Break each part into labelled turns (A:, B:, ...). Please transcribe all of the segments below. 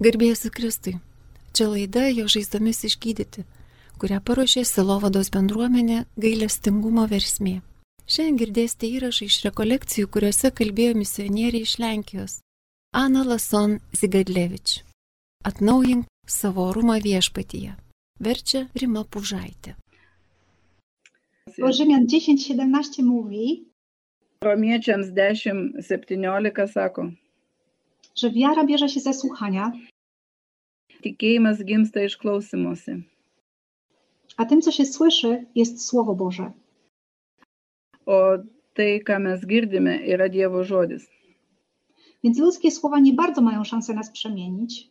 A: Garbėsiu Kristui. Čia laida jo žaizdomis išgydyti, kurią paruošė Silovados bendruomenė gailestingumo versmė. Šiandien girdėsite įrašą iš rekolekcijų, kuriuose kalbėjo misionieriai iš Lenkijos. Ana Lason Zigadlevič. Atnaujink savo rumą viešpatyje. Verčia Rima Pužaitė.
B: Bo Rzymian 10:17 mówi,
C: Romiečiams 10.17 sako,
B: że wiara bierze się ze słuchania,
C: tikėjimas gimsta iš klausimuose.
B: a tym, co się słyszy, jest Słowo Boże.
C: O tai, ką mes girdime, yra Dievo žodis.
B: Więc ludzkie słowa nie bardzo mają szansę nas przemienić,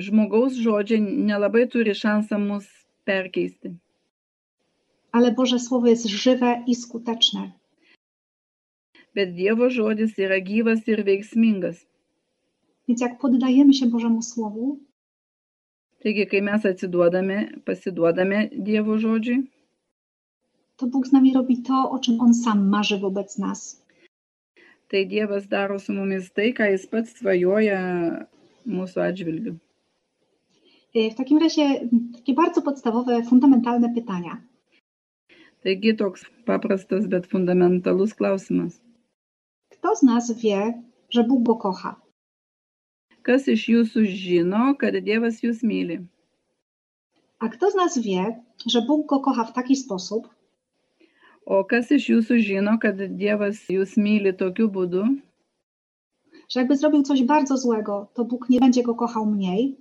C: Žmogaus žodžiai nelabai turi šansą mus perkeisti,
B: ale Boże Słowo jest żywe i skuteczne.
C: bet Dievo žodis yra gyvas ir veiksmingas.
B: Więc jak poddajemy się Bożemu Słowu,
C: Taigi, kai mes atsiduodame, pasiduodame Dievo žodžiui,
B: to Bóg z nami robi to, o czym On sam marzy wobec nas.
C: tai Dievas daro su mumis tai, ką Jis pats svajoja mūsų atžvilgiu.
B: Y, W takim razie m, takie bardzo podstawowe, fundamentalne pytania.
C: Taigi toks paprastas, bet fundamentalus klausimas.
B: Kto z nas wie, że Bóg go kocha?
C: Kas iš jūsų žino, kad Dievas jūs myli?
B: A kto z nas wie, że Bóg go kocha w taki sposób,
C: O kas iš jūsų žino, kad Dievas jūs myli tokiu būdu,
B: że jakby zrobił coś bardzo złego, to Bóg nie będzie go kochał mniej,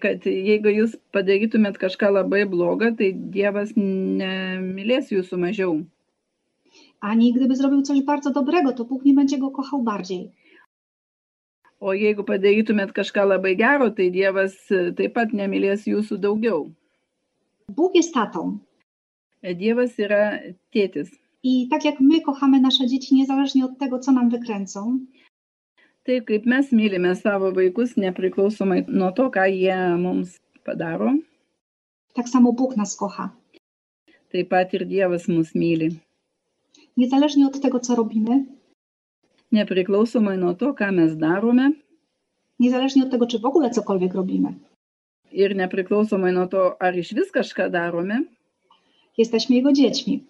C: kad jeigu jūs padarytumėt kažką labai blogą, tai Dievas nemylės jūsų mažiau.
B: ani gdyby zrobił coś bardzo dobrego, to Bóg nie będzie go kochał bardziej.
C: O jeigu padarytumėt kažką labai gero, tai Dievas e, taip pat nemylės jūsų daugiau.
B: Bóg jest tatą
C: Dievas yra tėtis.
B: i tak jak my kochamy nasze dzieci niezależnie od tego, co nam wykręcą,
C: Taip kaip mes mylime savo vaikus, nepriklausomai nuo to, ką jie mums padaro,
B: tak samo Bóg nas kocha.
C: taip pat ir Dievas mus myli.
B: Niezależnie od tego, co robimy,
C: Nepriklausomai nuo to, ką mes darome,
B: niezależnie od tego, czy w ogóle cokolwiek robimy,
C: ir nepriklausomai nuo to, ar iš vis kažką darome,
B: jesteśmy Jego dziećmi.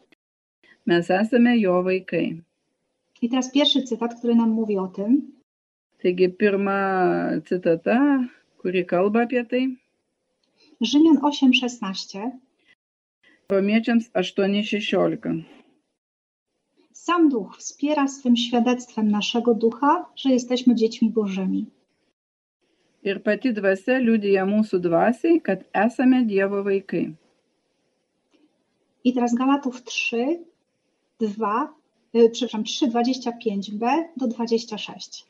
C: mes esame jo vaikai.
B: I teraz pierwszy cytat, który nam mówi o tym,
C: Taigi pirma citata, kuri kalba apie tai,
B: Rzymian 8:16.
C: romiečiams 8.16.
B: Sam Duch wspiera swym świadectwem naszego ducha, że jesteśmy dziećmi Bożymi.
C: Ir pati dvasia liudija mūsų dvasiai, kad esame Dievo vaikai.
B: I teraz Galatów 3, 2, y, przepraszam, 3, 25b do 26.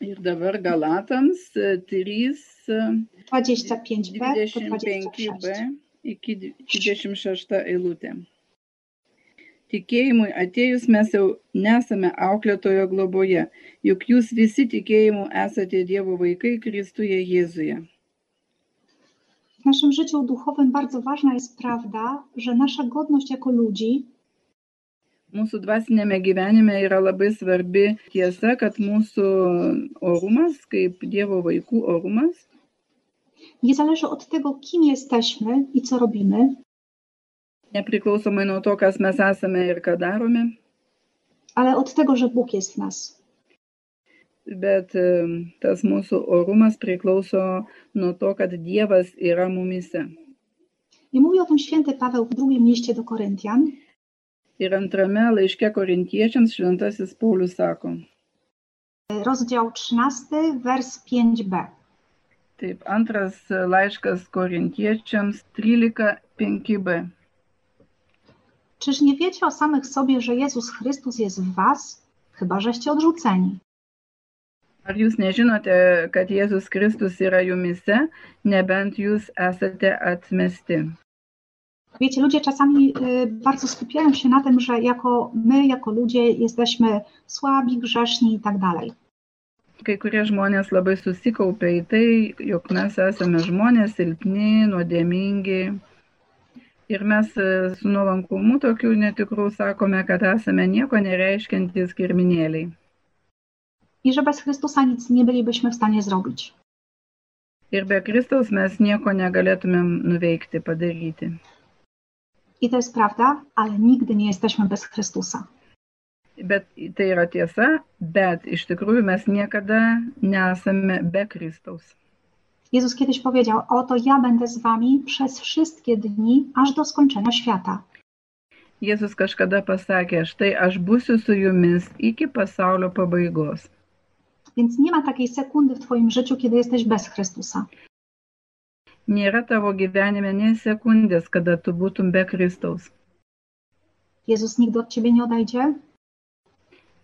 C: Ir dabar Galatams 3.25b
B: 25b do 26.
C: iki 26 eilutė. Tikėjimui atėjus mes jau nesame auklėtojo globoje, juk jūs visi tikėjimu esate Dievo vaikai Kristuje Jėzuje.
B: W naszym życiu duchowym bardzo ważna jest prawda, że nasza godność jako ludzi
C: Mūsų dvasinėme gyvenime yra labai svarbi tiesa, kad mūsų orumas, kaip Dievo vaikų orumas,
B: nie zależy od tego, kim jesteśmy i co robimy,
C: nepriklausomai nuo to, kas mes esame ir ką darome,
B: ale od tego, że Bóg jest w nas.
C: bet e, tas mūsų orumas priklauso nuo to, kad Dievas yra mumise.
B: I mówi o tym święty Paweł w drugim liście do Koryntian,
C: Ir antrame laiške korintiečiams šventasis Paulius sako,
B: y, rozdział 13, wers 5b.
C: taip, antras laiškas korintiečiams 13.5b.
B: Czyż nie wiecie o samych sobie, że Jezus Chrystus jest w was, chyba żeście odrzuceni?
C: Ar jūs nežinote, kad Jėzus Kristus yra jumise, nebent jūs esate atmesti?
B: Wiecie, ludzie czasami y, bardzo skupiają się na tym, że jako my, jako ludzie, jesteśmy słabi, grzeszni i tak dalej.
C: Kai kurie žmonės labai susikaupia į tai, jog mes esame žmonės silpni, nuodėmingi. Ir mes e, su nuolankumu tokiu netikru sakome, kad esame nieko nereiškintys kirminėliai.
B: i że bez Chrystusa nic nie bylibyśmy w stanie zrobić.
C: Ir be Kristaus mes nieko negalėtumėm nuveikti, padaryti.
B: I to jest prawda, ale nigdy nie jesteśmy bez Chrystusa.
C: Bet tai yra tiesa, bet iš tikrųjų mes niekada nesame be Kristaus.
B: Jezus kiedyś powiedział: Oto ja będę z wami przez wszystkie dni, aż do skończenia świata.
C: Jėzus kažkada pasakė, štai aš būsiu su jumis iki pasaulio pabaigos.
B: Więc nie ma takiej sekundy w Twoim życiu, kiedy jesteś bez Chrystusa.
C: Nėra tavo gyvenime nei sekundės, kada tu būtum be Kristaus.
B: Jezus nigdy od Ciebie nie odejdzie.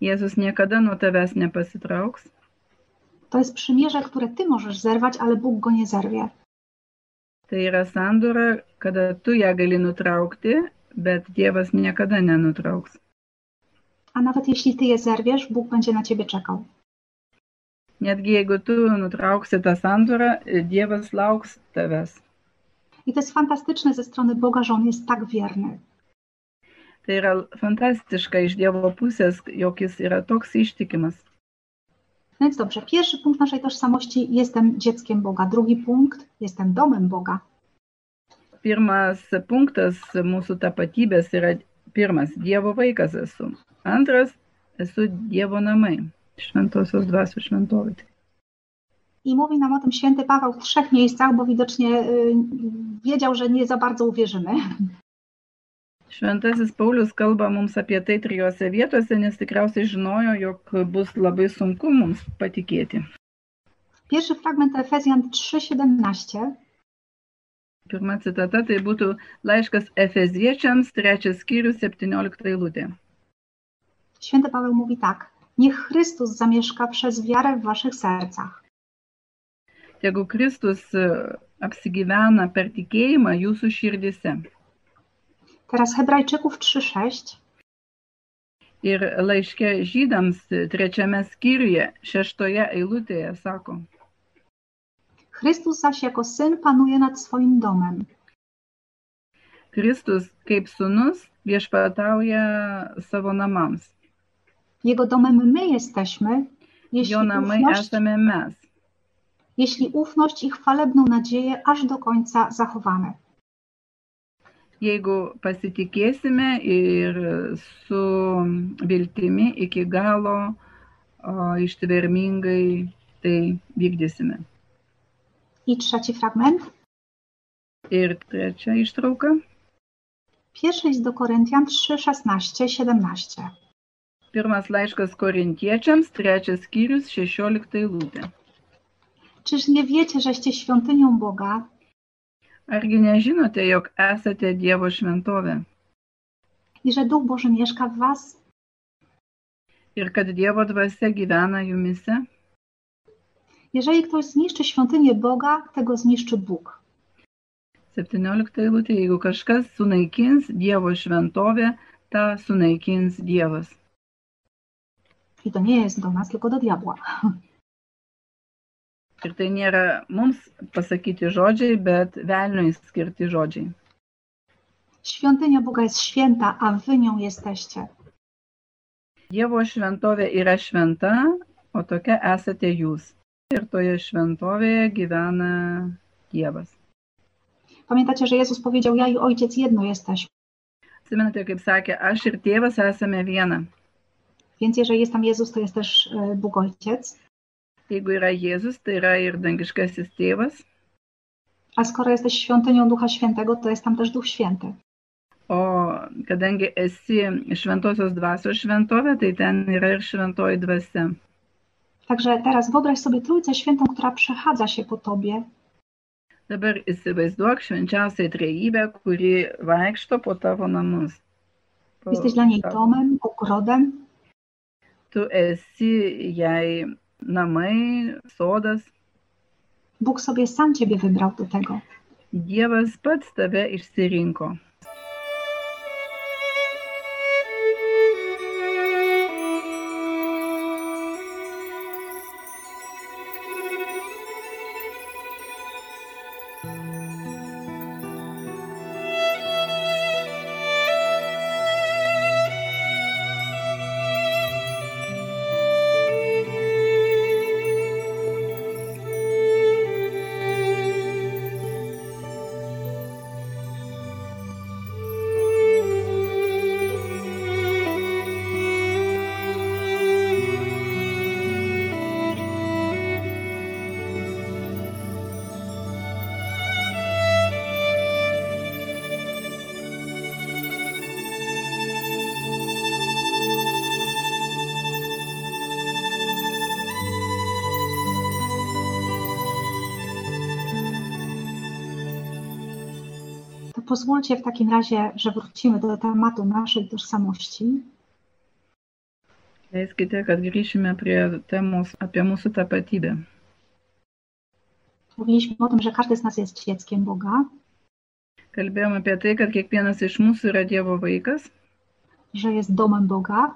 C: Jėzus niekada nuo tavęs nepasitrauks.
B: To jest przymierze, które Ty możesz zerwać, ale Bóg go nie zerwie.
C: Tai yra sandora, kada tu ją gali nutraukti, bet Dievas niekada nenutrauks.
B: A nawet jeśli Ty je zerwiesz, Bóg będzie na Ciebie czekał.
C: Netgi jeigu tu nutrauksi tą sandorą, Dievas lauks tavęs.
B: I to jest fantastyczne ze strony Boga, że On jest tak wierny.
C: Tai yra fantastiška iš Dievo pusės, jog jis yra toks ištikimas.
B: No Więc dobrze, pierwszy punkt naszej tożsamości jestem dzieckiem Boga, drugi punkt jestem domem Boga.
C: Pirmas punktas mūsų tapatybės yra pirmas - Dievo vaikas esu. Antras - esu Dievo namai. Šventosios dvasios šventovė.
B: I mówi nam o tym święty Paweł w trzech miejscach, bo widocznie y, wiedział, że nie za bardzo uwierzymy.
C: Šventasis Paulius kalba mums apie tai trijose vietose, nes tikriausiai žinojo, jog bus labai sunku mums patikėti.
B: Pierwszy fragment Efezjan 3:17.
C: Pirma citata tai būtų laiškas Efeziečiams, trečias skyrius, 17 eilutė.
B: Święty Paweł mówi tak: Niech Chrystus zamieszka przez wiarę w waszych sercach.
C: Jeigu Kristus e, apsigyvena per tikėjimą jūsų širdise.
B: Teraz Hebrajczyków 3:6.
C: Ir laiške žydams e, trečiame skyriuje, šeštoje eilutėje sako,
B: Chrystus zaś jako syn panuje nad swoim domem.
C: Kristus kaip sunus viešpatauja savo namams.
B: Jego domem my jesteśmy, jeśli
C: Jo namai
B: ufność,
C: esame mes.
B: jeśli ufność i chwalebną nadzieję aż do końca zachowamy.
C: Jeigu pasitikėsime ir su viltimi iki galo o, ištvermingai tai vykdysime.
B: I trzeci fragment.
C: Ir trečia ištrauka.
B: Pierwszy list do Koryntian 3, 16, 17.
C: Pirmas laiškas korintiečiams, trečias skyrius, šešiolikta eilutė.
B: Czyż nie wiecie, żeście świątynią Boga
C: Argi nežinote, jog esate Dievo šventovė
B: i że Duch Boży mieszka w was?
C: ir kad Dievo dvasia gyvena jumise?
B: Jeżeli ktoś zniszczy świątynię Boga, tego zniszczy Bóg.
C: 17 eilutė, jeigu kažkas sunaikins Dievo šventovę, tą sunaikins Dievas.
B: I to nie jest do nas, tylko do diabła.
C: Ir tai nėra mums pasakyti žodžiai, bet velniui skirti žodžiai.
B: Świątynia Boga jest święta, a wy nią jesteście.
C: Dievo šventovė yra šventa, o tokia esate jūs. Ir toje šventovėje gyvena Dievas.
B: Pamiętacie, że Jezus powiedział: Ja i Ojciec jedno jesteśmy.
C: Atsimenate, kaip sakė, aš ir tėvas esame viena.
B: Więc jeżeli jest tam Jezus, to jest też e, Bóg Ojciec.
C: Jeigu yra Jėzus, tai yra ir dangiškasis tėvas,
B: A skoro jesteś świątynią Ducha Świętego, to jest tam też Duch Święty.
C: o kadangi esi šventosios dvasios šventovė, tai ten yra ir šventoji dvasia.
B: Także teraz wyobraź sobie Trójcę Świętą, która przechadza się po tobie
C: Dabar įsivaizduok švenčiausiai trejybę, kuri vaikšto po tavo namus. Po
B: Jesteś dla niej
C: tavo-
B: domem, ogrodem.
C: Tu esi jai namai, sodas.
B: Bóg sobie sam ciebie wybrał do tego.
C: Dievas pats tave išsirinko.
B: Pozwólcie w takim razie, że wrócimy do tematu naszej tożsamości.
C: Leiskite, kad grįšime prie temos apie mūsų tapatybę.
B: Mówiliśmy o tym, że każdy z nas jest dzieckiem Boga,
C: Kalbėjom apie tai, kad kiekvienas iš mūsų yra Dievo vaikas,
B: że jest domem Boga.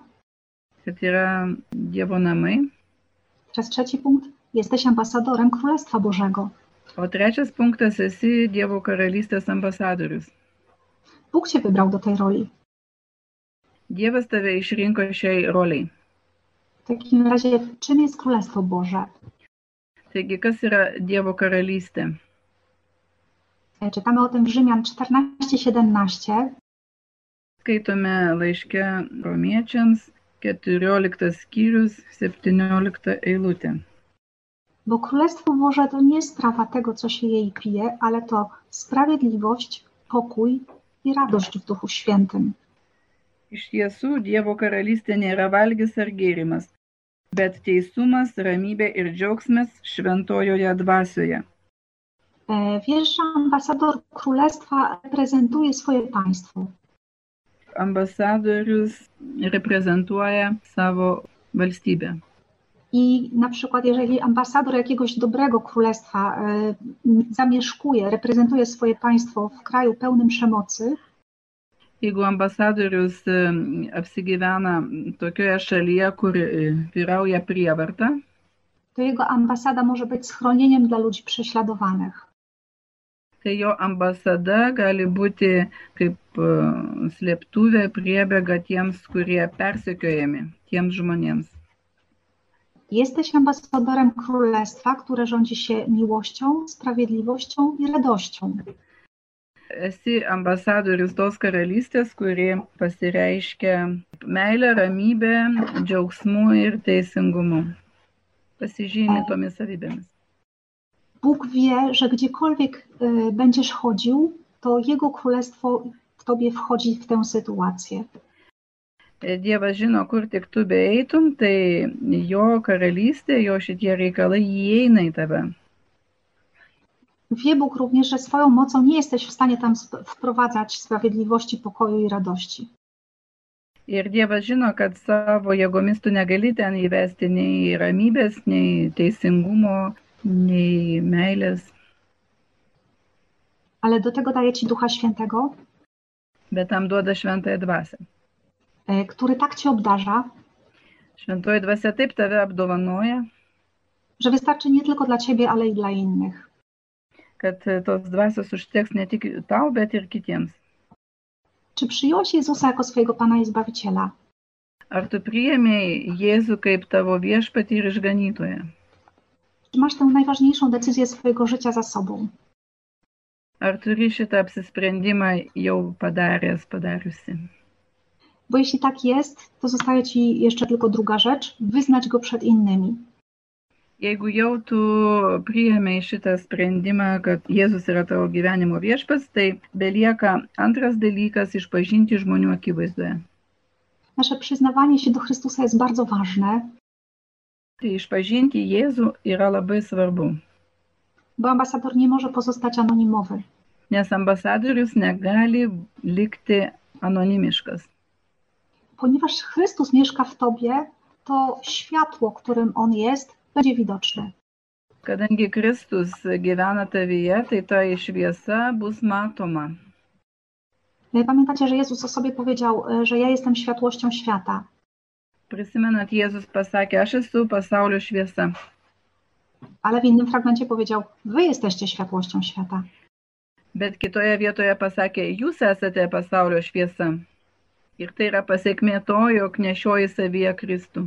C: kad yra Dievo namai.
B: Teraz trzeci punkt. Jesteś ambasadorem Królestwa Bożego.
C: O trečias punktas - esi Dievo karalystės ambasadorius.
B: Bóg Cię wybrał do tej roli.
C: Dievas tave išrinko šiai roliai.
B: W takim razie, czym jest Królestwo Boże?
C: Taigi, kas yra Dievo karalystė?
B: E, Czytamy o tym w Rzymian 14:17.
C: Skaitome laiške romiečiams 14 skyrius 17 eilutė.
B: Bo Królestwo Boże to nie sprawa tego, co się jej pije, ale to sprawiedliwość, pokój i radość w Duchu Świętym.
C: Iš tiesų, Dievo karalystė nėra valgis ar gėrimas, bet teisumas, ramybė ir džiaugsmas šventojoje dvasioje.
B: E, Wiesz, że ambasador Królestwa reprezentuje swoje państwo.
C: Ambasadorius reprezentuoja savo valstybę.
B: I na przykład, jeżeli ambasador jakiegoś dobrego królestwa e, m, zamieszkuje, reprezentuje swoje państwo w kraju pełnym przemocy,
C: Jeigu ambasadorius em, apsigyvena tokioje šalyje, kur e, vyrauja prievarta,
B: to jego ambasada może być schronieniem dla ludzi prześladowanych.
C: tai jo ambasada gali būti kaip e, slėptuvė priebėga tiems, kurie persekiojami, tiems žmonėms.
B: Jesteś ambasadorem królestwa, które rządzi się miłością, sprawiedliwością i radością.
C: esi ambasadorius tos karalystės, kuri pasireiškia meilę, ramybę, džiaugsmu ir teisingumu. Pasižymi tomis savybėmis.
B: Bóg wie, że gdziekolwiek y, będziesz chodził, to Jego królestwo w tobie wchodzi w tę sytuację.
C: E, Dievas žino, kur tik tu beeitum, tai jo karalystė, jo šitie reikalai įeina į tave.
B: Wie Bóg również, że swoją mocą nie jesteś w stanie tam sp- wprowadzać sprawiedliwości, pokoju i radości.
C: Ir Dievas žino, kad savo jėgomis tu negali ten įvesti nei ramybės, nei teisingumo, nei meilės,
B: Ale do tego daje Ci Ducha Świętego,
C: bet tam duoda šventąją dvasę.
B: y, który tak Cię obdarza,
C: Šventoji dvasia taip tave apdovanoja,
B: że wystarczy nie tylko dla Ciebie, ale i dla innych.
C: kad e, tos dvasios užteks ne tik tau, bet ir kitiems.
B: Czy przyjąłeś Jezusa jako swojego Pana i Zbawiciela?
C: Ar tu priėmėjai Jėzų kaip tavo viešpatį ir išganytoją?
B: Czy masz tę najważniejszą decyzję swojego życia za sobą?
C: Ar turi šitą apsisprendimą jau padaręs, padariusi?
B: Bo jeśli tak jest, to zostaje Ci jeszcze tylko druga rzecz wyznać go przed innymi.
C: Jeigu jau tu priėmėjai šitą sprendimą, kad Jėzus yra tavo gyvenimo viešpas, tai belieka antras dalykas - išpažinti žmonių akivaizdoje.
B: Nasze przyznawanie się do Chrystusa jest bardzo ważne,
C: Tai išpažinti Jėzų yra labai svarbu,
B: bo ambasador nie może pozostać anonimowy.
C: nes ambasadorius negali likti anonimiškas.
B: Ponieważ Chrystus mieszka w Tobie, to światło, którym On jest, będzie widoczne.
C: Kadangi Kristus gyvena tavyje, tai ta išviesa bus matoma.
B: E, Pamiętacie, że Jezus o sobie powiedział, e, że ja jestem światłością świata.
C: Prisimenat, Jėzus pasakė, aš esu pasaulio šviesa,
B: Ale w innym fragmencie powiedział, Wy jesteście światłością świata.
C: bet kitoje vietoje pasakė, jūs esate pasaulio šviesa. Ir tai yra pasiekmė to, jog nešioji savyje Kristų.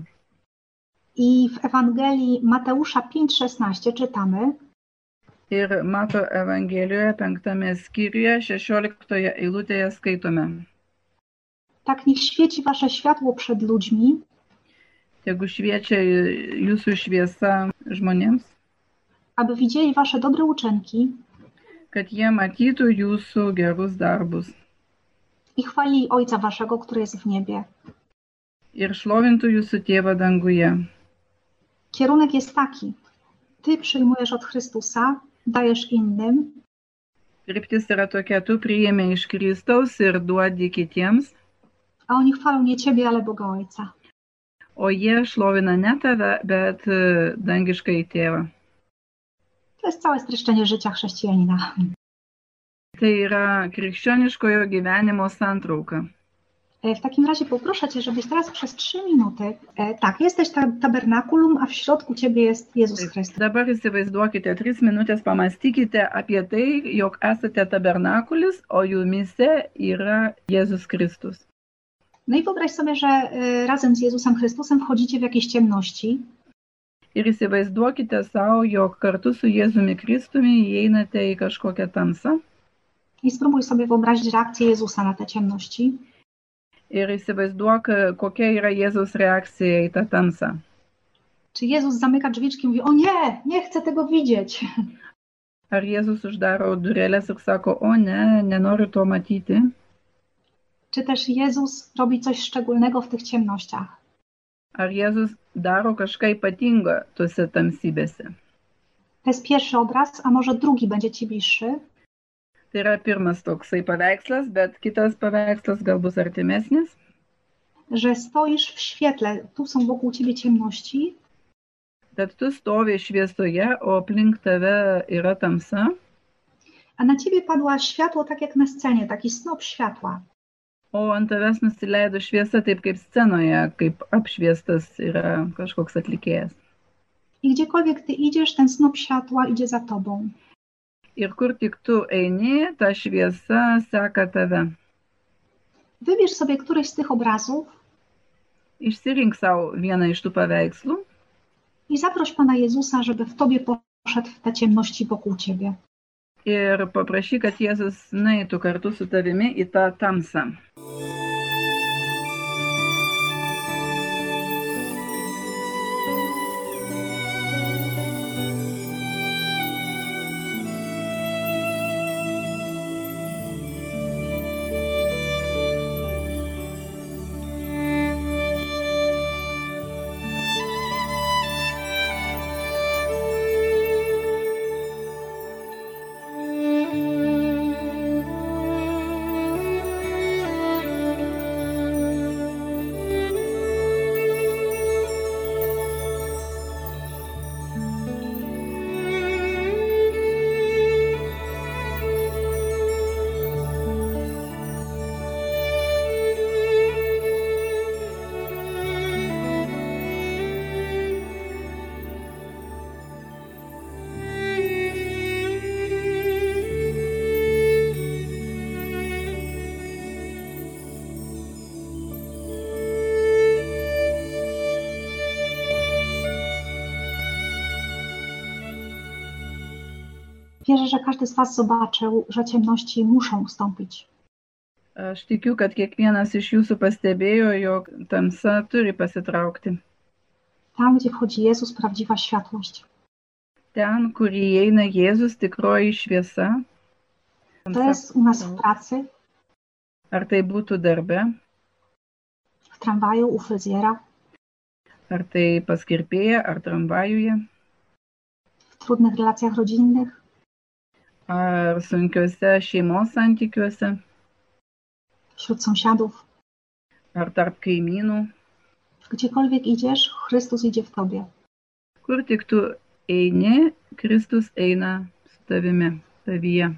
B: I w Ewangelii Mateusza 5,16 czytamy,
C: Ir mato Evangelijoje penktame skyriuje, šešioliktoje eilutėje skaitome.
B: Tak niech świeci wasze światło przed ludźmi,
C: Jeigu šviečia jūsų šviesa žmonėms,
B: aby widzieli wasze dobre uczynki
C: kad jie matytų jūsų gerus darbus.
B: i chwalili Ojca waszego, który jest w niebie.
C: ir šlovintų jūsų tėvą danguje.
B: Kierunek jest taki: Ty przyjmujesz od Chrystusa, dajesz innym,
C: Kryptis yra tokia, tu priėmė iš Kristaus ir duodi kitiems,
B: a oni chwalą nie Ciebie, ale Boga Ojca.
C: o jie šlovina ne tave, bet e, dangiškai tėvą.
B: To jest całe streszczenie życia chrześcijanina.
C: Tai yra krikščioniškojo gyvenimo santrauka.
B: E, W takim razie poproszę Cię, żebyś teraz przez trzy minuty. e, Tak, jesteś ta, tabernakulum, a w środku Ciebie jest Jezus
C: Taip.
B: Chrystus.
C: Dabar įsivaizduokite, tris minutės pamastykite apie tai, jog esate tabernakulis, o jumise yra Jėzus Kristus.
B: No i wyobraź sobie, że e, razem z Jezusem Chrystusem wchodzicie w jakieś ciemności
C: Ir įsivaizduokite savo, jog kartu su Jėzumi Kristumi įeinate į kažkokią tamsą.
B: i spróbuj sobie wyobrazić reakcję Jezusa na te ciemności.
C: Ir įsivaizduok, e, kokia yra Jėzaus reakcija į tą tamsą.
B: Czy Jezus zamyka drzwiczki i mówi: O nie, nie chcę tego widzieć.
C: Ar Jėzus uždaro durelės ir sako, o ne, nenoriu to matyti.
B: Czy też Jezus robi coś szczególnego w tych ciemnościach?
C: Ar Jėzus daro kažką ypatingo tuose tamsybėse.
B: To jest pierwszy obraz, a może drugi będzie Ci bliższy.
C: Tai yra pirmas toksai paveikslas, bet kitas paveikslas gal bus artimesnis.
B: Że stoisz w świetle, tu są wokół Ciebie ciemności,
C: Tad tu stovi šviesoje, o aplink tave yra tamsa
B: a na Ciebie padła światło tak jak na scenie, taki snop światła.
C: O ant tavęs nusileido šviesa taip kaip scenoje, kaip apšviestas yra kažkoks atlikėjas.
B: I gdziekolwiek Ty idziesz, ten snop światła idzie za Tobą.
C: Ir kur tik tu eini, ta šviesa seka tave.
B: Wybierz sobie któryś z tych obrazów
C: Išsirink savo vieną iš tų paveikslų
B: i zaproś Pana Jezusa, żeby w Tobie poszedł w te ciemności wokół Ciebie.
C: ir paprašy, kad Jėzus nueitų kartu su tavimi į tą tamsą.
B: Wierzę, że każdy z Was zobaczył, że ciemności muszą ustąpić.
C: Aš tikiu, kad kiekvienas iš jūsų pastebėjo, jog tamsa turi pasitraukti.
B: Tam, gdzie wchodzi Jezus, prawdziwa światłość.
C: Ten, kur įeina Jėzus, tikroji šviesa. Tak.
B: To jest u nas w pracy,
C: Ar tai būtų darbe,
B: w tramwaju, u fryzjera,
C: ar tai paskirpėje, ar tramvajuje,
B: w trudnych relacjach rodzinnych,
C: ar sunkiuose šeimos santykiuose,
B: wśród sąsiadów.
C: ar tarp kaimynų.
B: Gdziekolwiek idziesz, Chrystus idzie w Tobie.
C: Kur tik tu eini, Kristus eina su tavimi, tavyje.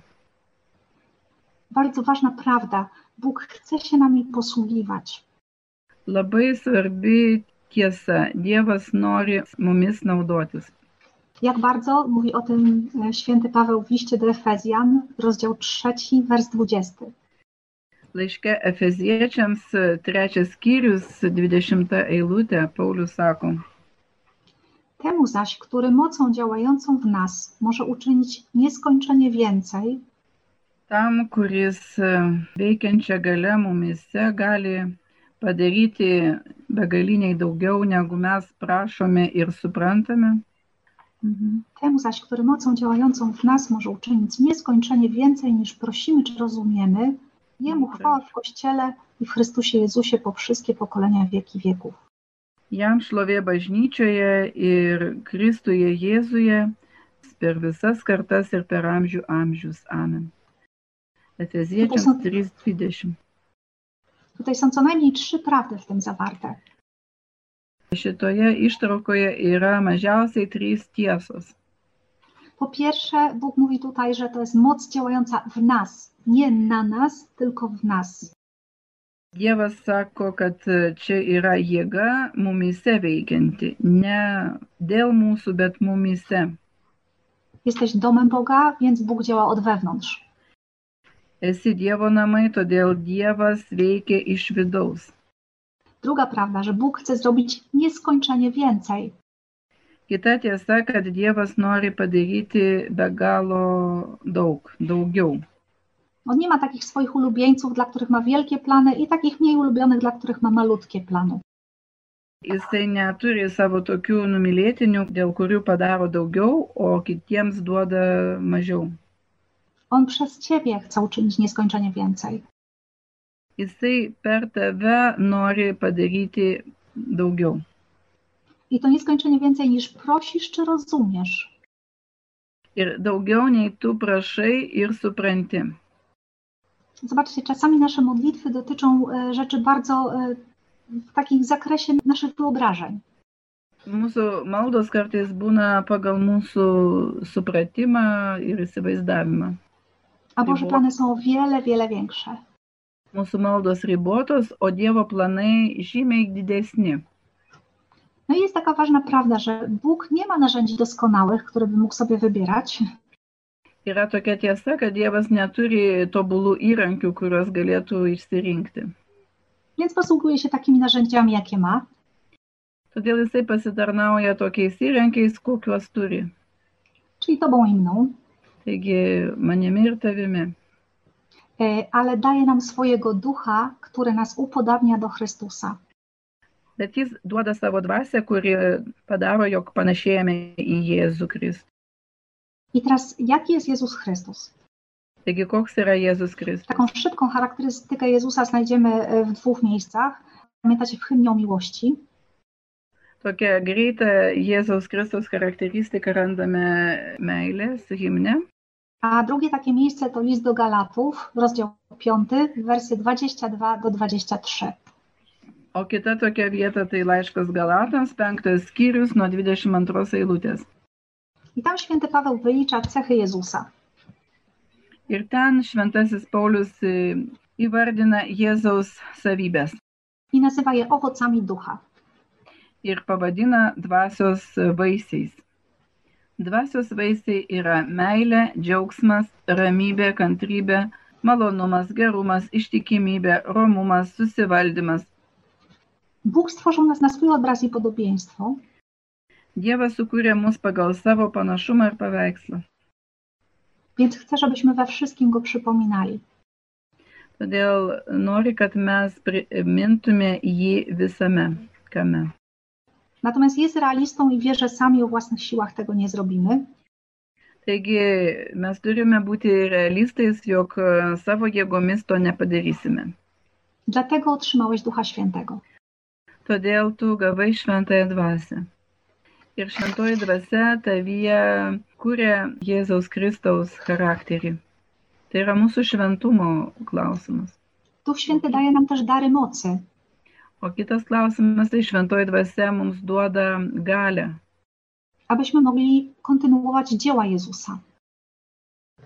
B: Bardzo ważna prawda. Bóg chce się nami posługiwać.
C: Labai svarbi tiesa, Dievas nori mumis naudotis.
B: Jak bardzo mówi o tym e, święty Paweł w liście do Efezjan, rozdział 3, wers 20.
C: Laiške Efeziečiams e, trečias skyrius, 20 eilutė, Paulius sako,
B: Temu zaś, który mocą działającą w nas może uczynić nieskończenie więcej,
C: tam, kuris e, veikiančia gale mumise gali padaryti begaliniai daugiau, negu mes prašome ir suprantame. Mhm.
B: temu zaś, który mocą działającą w nas może uczynić nieskończenie więcej niż prosimy czy rozumiemy, jemu chwała w Kościele i w Chrystusie Jezusie po wszystkie pokolenia wieki wieków.
C: Jam šlovė bažnyčioje ir Kristuje Jėzuje per visas kartas ir per amžių amžius. Amen. Efeziečiams 3.20.
B: Tutaj są co najmniej trzy prawdy w tym zawarte.
C: Šitoje ištraukoje yra mažiausiai trys tiesos.
B: Po pierwsze, Bóg mówi tutaj, że to jest moc działająca w nas, nie na nas, tylko w nas.
C: Dievas sako, kad e, čia yra jėga mumise veikianti, ne dėl mūsų, bet mumise.
B: Jesteś domem Boga, więc Bóg działa od wewnątrz.
C: Esi Dievo namai, todėl Dievas veikia iš vidaus.
B: Druga prawda, że Bóg chce zrobić nieskończenie więcej.
C: Kita tiesa, kad Dievas nori padaryti be galo daug, daugiau.
B: On nie ma takich swoich ulubieńców, dla których ma wielkie plany, i takich mniej ulubionych, dla których ma malutkie plany.
C: Jisai neturi savo tokių numylėtinių, dėl kurių padaro daugiau, o kitiems duoda mažiau.
B: On przez ciebie chce uczynić nieskończenie więcej.
C: Jisai per tave nori padaryti daugiau.
B: I to nieskończenie więcej niż prosisz czy rozumiesz.
C: Ir daugiau nei tu prašai ir supranti.
B: Zobaczcie, czasami nasze modlitwy dotyczą e, rzeczy bardzo e, w takim zakresie naszych wyobrażeń.
C: Mūsų maldos kartais būna pagal mūsų supratimą ir įsivaizdavimą.
B: A Boże
C: Było.
B: plany są o wiele, wiele większe.
C: Mūsų maldos ribotos, o Dievo planai žymiai didesni.
B: No i jest taka ważna prawda, że Bóg nie ma narzędzi doskonałych, które by mógł sobie wybierać.
C: Yra tokia tiesa, kad Dievas neturi tobulų įrankių, kuriuos galėtų išsirinkti.
B: Więc posługuje się takimi narzędziami, jakie ma.
C: Todėl jisai pasitarnauja tokiais įrankiais, kokiuos turi.
B: czyli tobą i mną,
C: Taigi manimi ir tavimi.
B: e, ale daje nam swojego ducha, który nas upodabnia do Chrystusa.
C: Bet jis duoda savo dvasę, kuri padaro, jog panašėjame į Jėzų Kristų.
B: I teraz, jaki jest Jezus Chrystus?
C: Taigi koks yra Jėzus Kristus?
B: Taką szybką charakterystykę Jezusa znajdziemy e, w dwóch miejscach. Pamiętacie w hymnie o miłości?
C: Tokia greita Jėzaus Kristaus charakteristika randame meilės himne.
B: A drugie takie miejsce to list do Galatów, rozdział 5, wersy 22 do 23.
C: O kita tokia vieta tai laiškas Galatams, penktas skyrius nuo 22 eilutės.
B: I tam święty Paweł wylicza cechy Jezusa.
C: Ir ten šventasis Paulius e, įvardina Jėzaus savybės
B: I nazywa je owocami ducha.
C: ir pavadina dvasios vaisiais. Dvasios vaisiai yra meilė, džiaugsmas, ramybė, kantrybė, malonumas, gerumas, ištikimybė, romumas, susivaldymas.
B: Bóg stworzył nas na swój obraz i podobieństwo,
C: Dievas sukūrė mus pagal savo panašumą ir paveikslą.
B: więc chce, żebyśmy we wszystkim go przypominali.
C: Todėl nori, kad mes primintume jį visame kame.
B: Natomiast jest realistą i wie, że sami o własnych siłach tego nie zrobimy,
C: Taigi mes turime būti realistais, jog e, savo jėgomis to nepadarysime.
B: dlatego otrzymałeś Ducha Świętego.
C: Todėl tu gavai šventąją dvasę. Ir šventoji dvasia tavyje kūrė Jėzaus Kristaus charakterį. Tai yra mūsų šventumo klausimas.
B: Duch Święty daje nam też dary mocy.
C: O kitas klausimas, tai šventoji dvasia mums duoda galę.
B: Abyśmy mogli kontynuować dzieła Jezusa.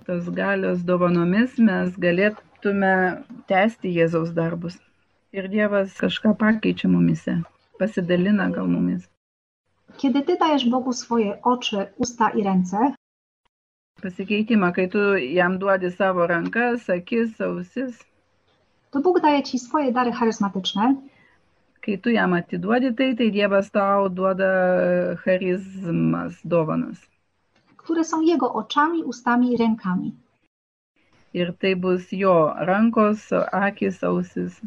C: Tos galios dovanomis mes galėtume tęsti Jėzaus darbus. Ir Dievas kažką pakeičia mumise, pasidalina gal mumis,
B: Kiedy Ty dajesz Bogu swoje oczy, usta i ręce,
C: pasikeitimą, kai tu jam duodi savo rankas, akis, ausis.
B: to Bóg daje Ci swoje dary charyzmatyczne,
C: Kai tu jam atiduodi tai, tai Dievas tau duoda e, charizmas, dovanas.
B: które są Jego oczami, ustami i rękami.
C: Ir tai bus jo rankos, akis, ausis.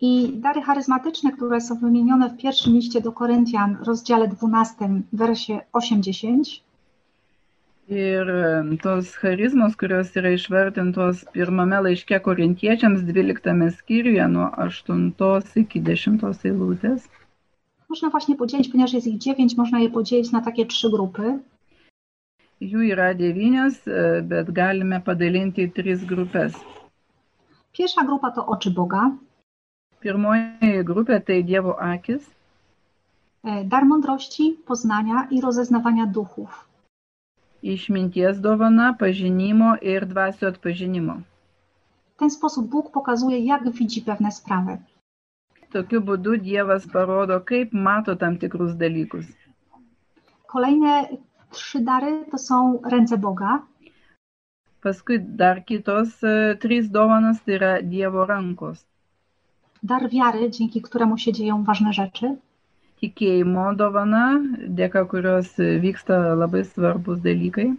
B: I dary charyzmatyczne, które są wymienione w pierwszym liście do Koryntian, rozdziale 12, wersie 8-10,
C: Ir e, tos charizmos, kurios yra išvertintos pirmame laiške korintiečiams 12 skyriuje nuo 8 iki 10 eilutės,
B: można właśnie podzielić, ponieważ jest ich dziewięć, można je podzielić na takie trzy grupy.
C: jų yra devynios, e, bet galime padalinti į tris grupės.
B: Pierwsza grupa to oczy Boga.
C: Pirmoji grupė tai Dievo akis,
B: E, Dar mądrości, poznania i rozeznawania duchów.
C: išminties dovana, pažinimo ir dvasio atpažinimo.
B: W ten sposób Bóg pokazuje, jak widzi pewne sprawy.
C: Tokiu būdu Dievas parodo, kaip mato tam tikrus dalykus.
B: Kolejne trzy dary to są ręce Boga.
C: Paskui dar kitos e, trys dovanas tai yra Dievo rankos.
B: Dar wiary, dzięki któremu się dzieją ważne rzeczy.
C: Tikėjimo dovana, dėka kurios e, vyksta labai svarbus dalykai.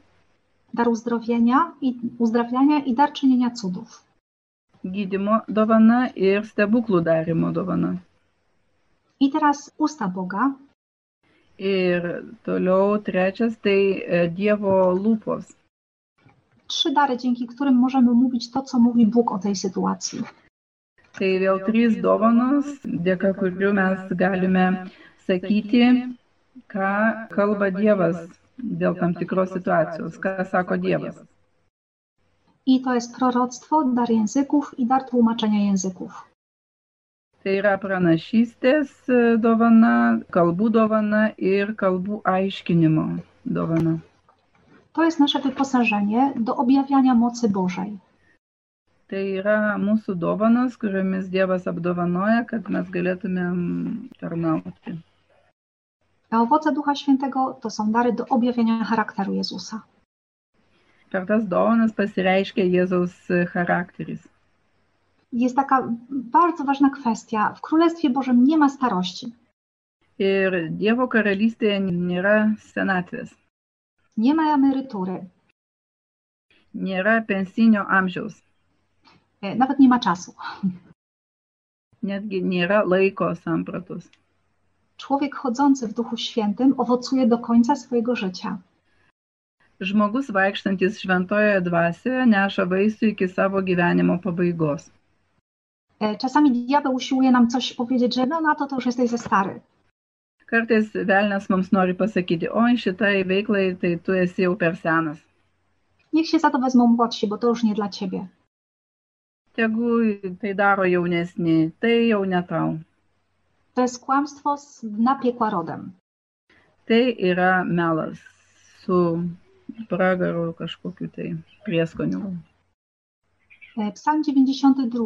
B: Dar uzdrowienia i, uzdrawiania i dar czynienia cudów.
C: Gydimo dovana ir stebuklų darimo dovana.
B: I teraz usta Boga.
C: Ir toliau trečias tai e, Dievo lūpos.
B: Trzy dary, dzięki którym możemy mówić to, co mówi Bóg o tej sytuacji.
C: Tai vėl trys dovanos, dėka kurių mes galime sakyti, ką kalba Dievas dėl tam tikros situacijos, ką sako Dievas.
B: I to jest proroctwo, dar języków i dar tłumaczenia języków.
C: Tai yra pranašystės e, dovana, kalbų dovana ir kalbų aiškinimo dovana.
B: To jest nasze wyposażenie do objawiania mocy Bożej.
C: Tai yra mūsų dovanas, kuriomis Dievas apdovanoja, kad mes galėtumėm tarnauti.
B: A owoce Ducha Świętego to są dary do objawienia charakteru Jezusa.
C: Per tas dovanas pasireiškia Jėzaus e, charakteris.
B: Jest taka bardzo ważna kwestia. W Królestwie Bożym nie ma starości,
C: Ir Dievo karalystėje nėra senatvės,
B: nie ma emerytury,
C: nėra pensinio amžiaus,
B: e, nawet nie ma czasu.
C: netgi nėra laiko sampratos.
B: Człowiek chodzący w Duchu Świętym owocuje do końca swojego życia.
C: Žmogus vaikštantis šventojoje dvasioje neša vaisių iki savo gyvenimo pabaigos.
B: E, Czasami diabeł usiłuje nam coś powiedzieć, że no na to to już jesteś za stary.
C: Kartais velnės mums nori pasakyti, oi šitai veiklai tai tu esi jau per senas.
B: Niech się za to wezmą młodsi, bo to już nie dla ciebie.
C: Tegu tai daro jaunesni, tai jau ne tau.
B: To jest kłamstwo z napiekła rodem.
C: Tai yra melas su pragaru kažkokiu tai prieskoniu.
B: E, Psalm 92,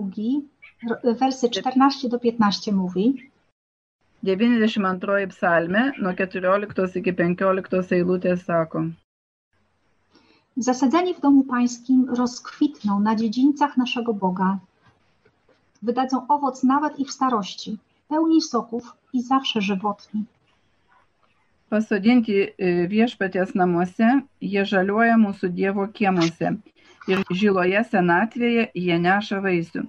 B: r- e, wersy 14 do 15 mówi:
C: 92 psalme nuo 14 iki 15 eilutės sako,
B: Zasadzeni w domu pańskim rozkwitną na dziedzińcach naszego Boga. Wydadzą owoc nawet i w starości, pełni soków i zawsze żywotni.
C: Pasodinti e, viešpaties namuose, jie žaliuoja mūsų Dievo kiemuose ir žiloje senatvėje jie neša vaisių,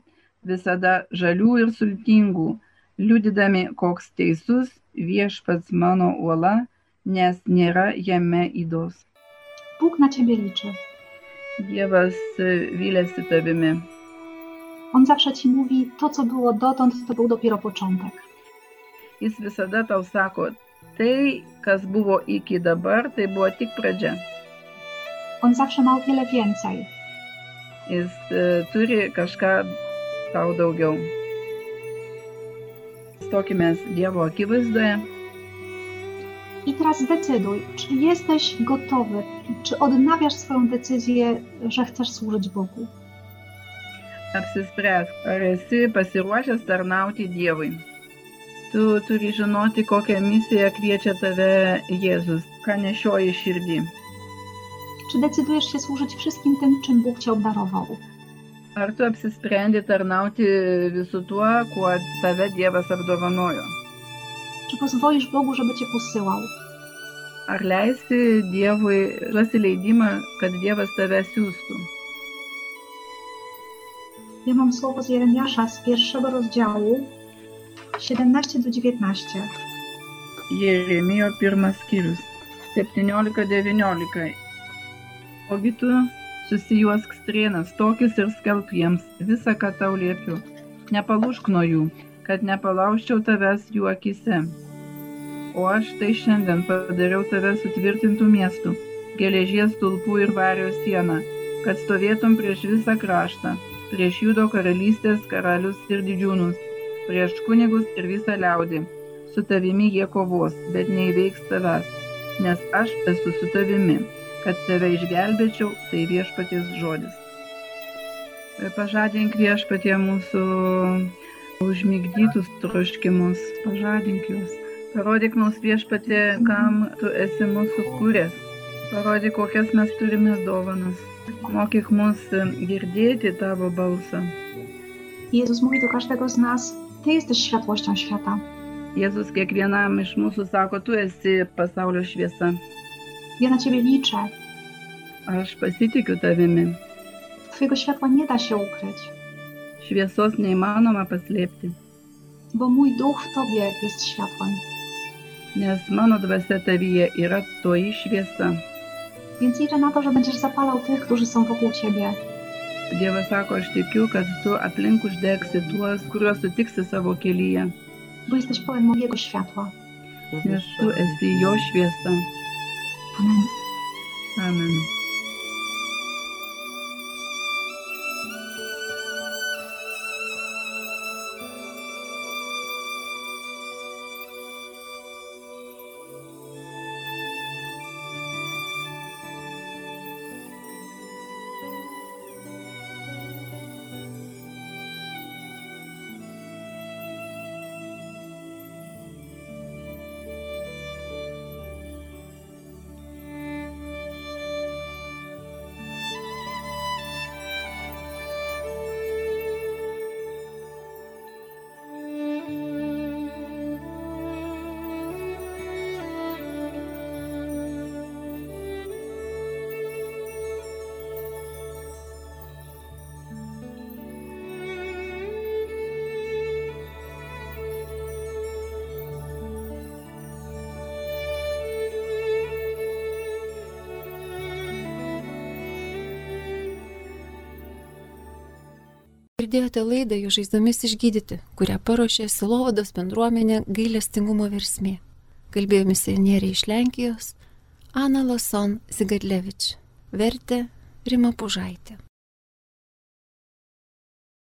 C: visada žalių ir sultingų, liudydami, koks teisus viešpats mano uola, nes nėra jame įdos.
B: Bóg na ciebie liczy.
C: Dievas e, vylėsi tavimi.
B: On zawsze ci mówi: To, co było dotąd, to był dopiero początek.
C: Jis visada tau sako, tai, kas buvo iki dabar, tai buvo tik pradžia.
B: On zawsze ma o wiele więcej.
C: Jis e, turi kažką tau daugiau. Stokimės Dievo akivaizdoje
B: I teraz zdecyduj, czy jesteś gotowy, czy odnawiasz swoją decyzję, że chcesz służyć Bogu.
C: apsispręs, ar esi pasiruošęs tarnauti Dievui. Tu turi žinoti, kokią misiją kviečia tave Jėzus, ką nešioji širdį.
B: Czy decydujesz się służyć wszystkim tym, czym Bóg cię obdarował?
C: Ar tu apsisprendi tarnauti visu tuo, kuo tave Dievas apdovanojo?
B: Czy pozwolisz Bogu, żeby cię posyłał?
C: Ar leisti Dievui, duosi leidimą, kad Dievas tave siūstų?
B: Ja mam słowo z Jeremiasza z pierwszego rozdziału 17 do 19.
C: Jeremijo pirmas skyrius 17-19. Ogi tu susijuosk strėnas tokius ir skelb jiems visą, ką tau liepiu. Nepalūšk nuo jų, kad nepalauščiau tavęs jų akise. O aš tai šiandien padariau tave sutvirtintų miestų, geležies tulpų ir vario sieną, kad stovėtum prieš visą kraštą, prieš Judo karalystės karalius ir didžiūnus, prieš kunigus ir visą liaudį. Su tavimi jie kovos, bet neįveiks tavęs, nes aš esu su tavimi, kad tave išgelbėčiau, tai viešpaties žodis. E, Pažadink viešpatie mūsų užmigdytus troškimus, pažadink juos. Parodyk mums viešpatė, kam tu esi mūsų kūrės. Parodyk, kokias mes turime dovanas. Mokyk mus girdėti tavo balsą.
B: Jezus mówi do każdego z nas, Ty jesteś światłością świata.
C: Jėzus kiekvienam iš mūsų sako, tu esi pasaulio šviesa.
B: Ja na Ciebie liczę.
C: Aš pasitikiu tavimi.
B: Twojego światła nie da się ukryć,
C: Šviesos neįmanoma paslėpti,
B: bo mój duch w Tobie jest światłem.
C: nes mano dvasia tavyje yra toji šviesa.
B: Więc liczę na to, że będziesz zapalał tych, którzy są wokół Ciebie.
C: Dievas sako, aš tikiu, kad tu aplink uždegsi tuos, kuriuos sutiksi savo kelyje,
B: bo jesteś pełen mojego światła.
C: nes tu esi jo šviesa.
B: Amen.
C: Amen.
A: Girdėjote laidą jų žaizdomis išgydyti, kurią paruošė Silovados bendruomenė gailestingumo versmė. Kalbėjo misionieriai iš Lenkijos Ana Loson Zigadlevič. Vertė Rima Pužaitė.